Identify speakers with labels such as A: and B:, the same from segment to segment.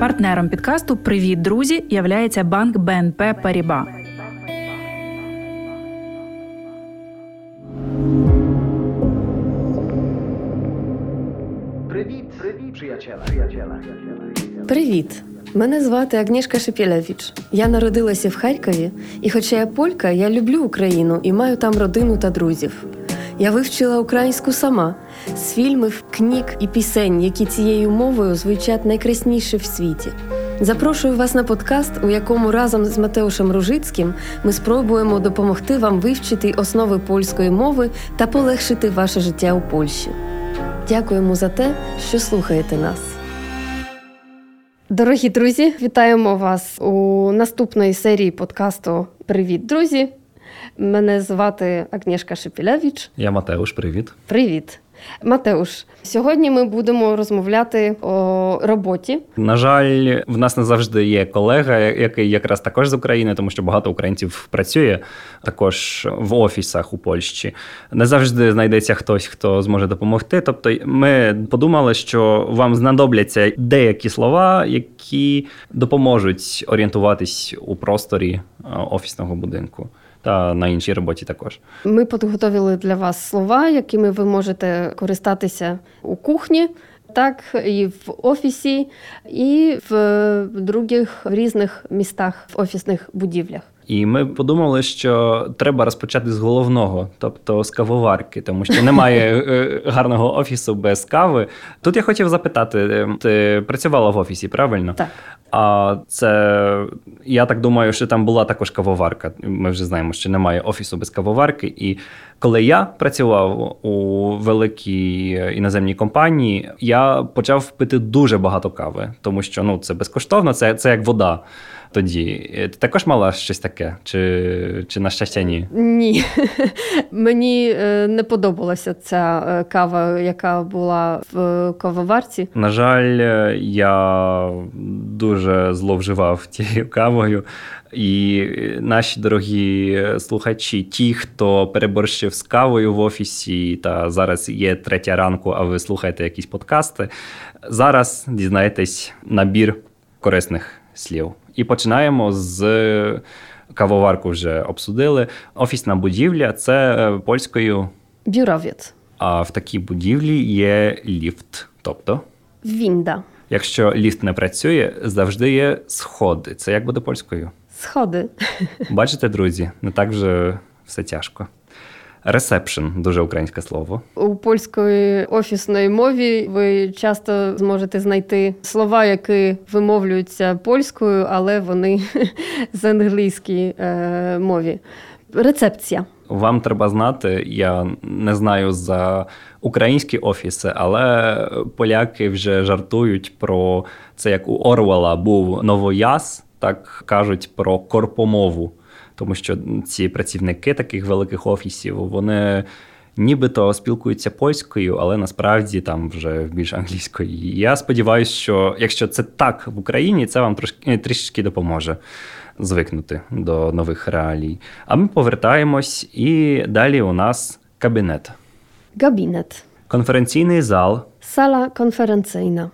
A: Партнером підкасту Привіт, друзі являється банк БНП Паріба.
B: Привіт, привіт, przyjaciele. przyjaciele.
C: Привіт! Мене звати Агнішка Шепілевич. Я народилася в Харкові, і хоча я полька, я люблю Україну і маю там родину та друзів. Я вивчила українську сама з фільмів, книг і пісень, які цією мовою звучать найкрасніше в світі. Запрошую вас на подкаст, у якому разом з Матеушем Ружицьким ми спробуємо допомогти вам вивчити основи польської мови та полегшити ваше життя у Польщі. Дякуємо за те, що слухаєте нас.
D: Дорогі друзі, вітаємо вас у наступної серії подкасту Привіт, друзі! Мене звати Агнєшка Шепілевич.
E: Я Матеуш, привіт.
D: Привіт, Матеуш. Сьогодні ми будемо розмовляти о роботі.
E: На жаль, в нас не завжди є колега, який якраз також з України, тому що багато українців працює також в офісах у Польщі. Не завжди знайдеться хтось, хто зможе допомогти. Тобто, ми подумали, що вам знадобляться деякі слова, які допоможуть орієнтуватись у просторі е, офісного будинку та на іншій роботі також.
D: Ми підготовили для вас слова, якими ви можете користатися у кухні, так і в офісі, і в е, других різних містах в офісних будівлях.
E: І ми подумали, що треба розпочати з головного, тобто з кавоварки, тому що немає е, гарного офісу без кави. Тут я хотів запитати: е, ти працювала в офісі, правильно?
D: Так.
E: А це я так думаю, що там була також кавоварка. Ми вже знаємо, що немає офісу без кавоварки. І коли я працював у великій е, іноземній компанії, я почав пити дуже багато кави, тому що ну це безкоштовно, це, це як вода. Тоді Е, ти також мала щось таке, чи, чи на щастя ні?
D: Ні, мені е, не подобалася ця е, кава, яка була в е, кавоварці.
E: На жаль, е, я дуже зловживав тією кавою. І наші дорогі слухачі, ті, хто переборщив з кавою в офісі, та зараз є третя ранку, а ви слухаєте якісь подкасти. Зараз дізнаєтесь набір корисних слів. І починаємо з е, кавоварку вже обсудили. Офісна будівля це е, польською,
D: Бюровець.
E: а в такій будівлі є ліфт. Тобто.
D: Вінда.
E: Якщо ліфт не працює, завжди є сходи. Це як буде польською.
D: Сходи.
E: Бачите, друзі, не так вже все тяжко. Ресепшн дуже українське слово.
D: У польської офісної мові ви часто зможете знайти слова, які вимовлюються польською, але вони з англійської е, мові. Рецепція.
E: Вам треба знати, я не знаю за українські офіси, але поляки вже жартують про це, як у Орвела був новояз, так кажуть про корпомову. Тому що ці працівники таких великих офісів вони нібито спілкуються польською, але насправді там вже більш англійською. І Я сподіваюся, що якщо це так в Україні, це вам трошки трішечки допоможе звикнути до нових реалій. А ми повертаємось, і далі у нас кабінет.
D: Габінет.
E: Конференційний зал.
D: Сала конференційна.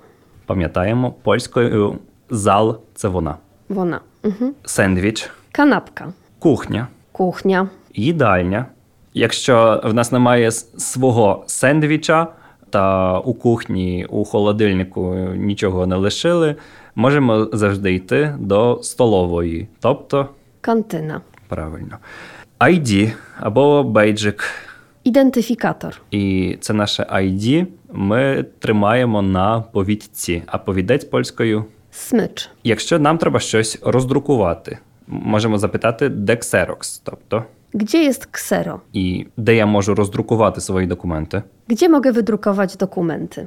E: Пам'ятаємо, польською зал це вона.
D: Вона. Угу.
E: Сендвіч,
D: Канапка.
E: кухня,
D: Кухня.
E: їдальня. Якщо в нас немає с- свого сендвіча та у кухні, у холодильнику нічого не лишили, можемо завжди йти до столової, тобто
D: Кантина.
E: правильно. ID або бейджик.
D: Ідентифікатор.
E: І це наше ID ми тримаємо на повідці, а повідець польською.
D: Смич.
E: Якщо нам треба щось роздрукувати, м- можемо запитати, де Xerox, тобто,
D: Gdzie jest ksero?
E: і де я можу роздрукувати свої документи.
D: Gdzie mogę wydrukować dokumenty?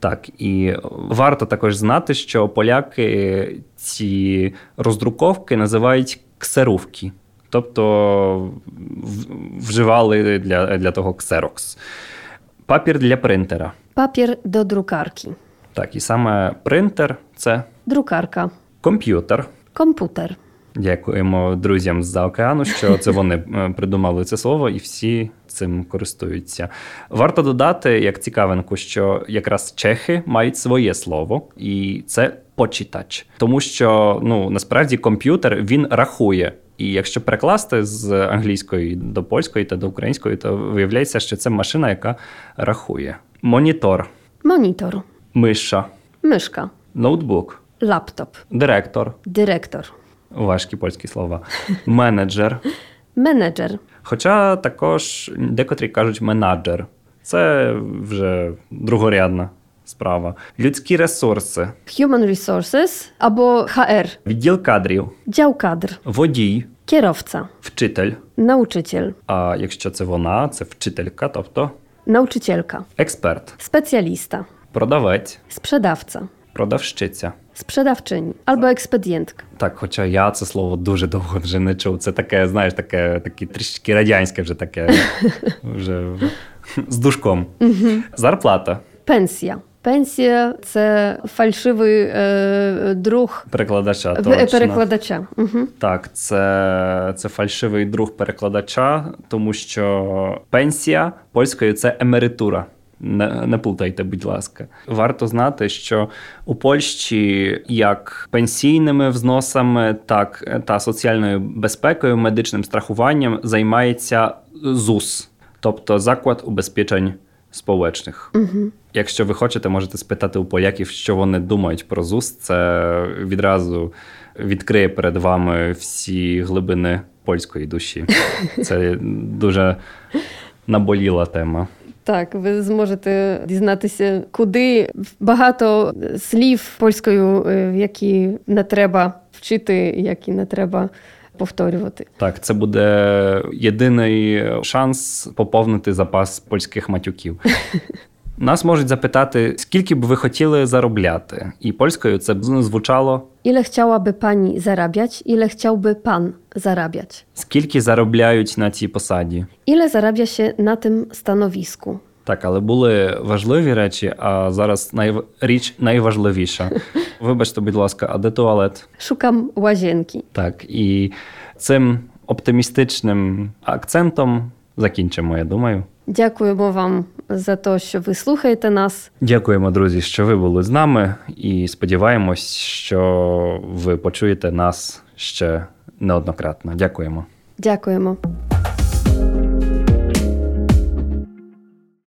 E: Так, і варто також знати, що поляки ці роздруковки називають ксерувки, тобто в- вживали для, для того ксерокс. Папір для принтера.
D: Papier do drukarki.
E: Так, і саме принтер це
D: Drukarka.
E: комп'ютер.
D: Komputer.
E: Дякуємо друзям з за океану, що це вони е, придумали це слово, і всі цим користуються. Варто додати, як цікавинку, що якраз чехи мають своє слово, і це почитач, тому що ну насправді комп'ютер він рахує. І якщо перекласти з англійської до польської та до української, то виявляється, що це машина, яка рахує. Монітор,
D: Монітор,
E: миша,
D: мишка,
E: ноутбук,
D: лаптоп,
E: директор,
D: директор,
E: важкі польські слова, менеджер.
D: менеджер,
E: Хоча також декотрі кажуть менеджер. Це вже другорядна справа. Людські ресурси,
D: human resources або HR,
E: відділ кадрів,
D: dział kadr,
E: водій,
D: kierowca,
E: вчитель.
D: nauczyciel,
E: А якщо це вона, це вчителька, тобто
D: nauczycielka,
E: експерт,
D: specjalista,
E: продавець,
D: sprzedawca,
E: продавщиця.
D: sprzedawczyni albo ekspedientka.
E: Так, хоча я це слово дуже довго вже не чув. Це таке, знаєш, таке, таке трішечки радянське вже таке. Вже з душком. Зарплата.
D: Pensja. Pensje to fałszywy e, druh
E: Перекладача.
D: w-
E: точно.
D: перекладача. Mhm.
E: Так, це, це фальшивий друг перекладача, тому що пенсія польською це емеритура. Не, не плутайте, будь ласка. Варто знати, що у Польщі як пенсійними взносами, так та соціальною безпекою, медичним страхуванням займається ЗУС, тобто заклад убезпечень сполучних. Якщо ви хочете, можете спитати у поляків, що вони думають про ЗУС. Це відразу відкриє перед вами всі глибини польської душі. Це дуже наболіла тема.
D: Так, ви зможете дізнатися, куди багато слів польською, е, які не треба вчити, які не треба повторювати.
E: Так, це буде єдиний шанс поповнити запас польських матюків. Нас можуть запитати, скільки б ви хотіли заробляти, і польською це б звучало
D: Ile chciałaby pani zarabiać? Ile chciałby pan zarabiać?
E: скільки заробляють на цій посаді.
D: Ile zarabia się na tym stanowisku?
E: Так, але були важливі речі, а зараз найв... річ найважливіша. Вибачте, будь ласка, а де туалет?
D: Szukam łazienki.
E: Так, і цим оптимістичним акцентом закінчимо, я думаю.
D: Дякуємо вам за те, що ви слухаєте нас.
E: Дякуємо, друзі, що ви були з нами, і сподіваємось, що ви почуєте нас ще неоднократно. Дякуємо.
D: Дякуємо.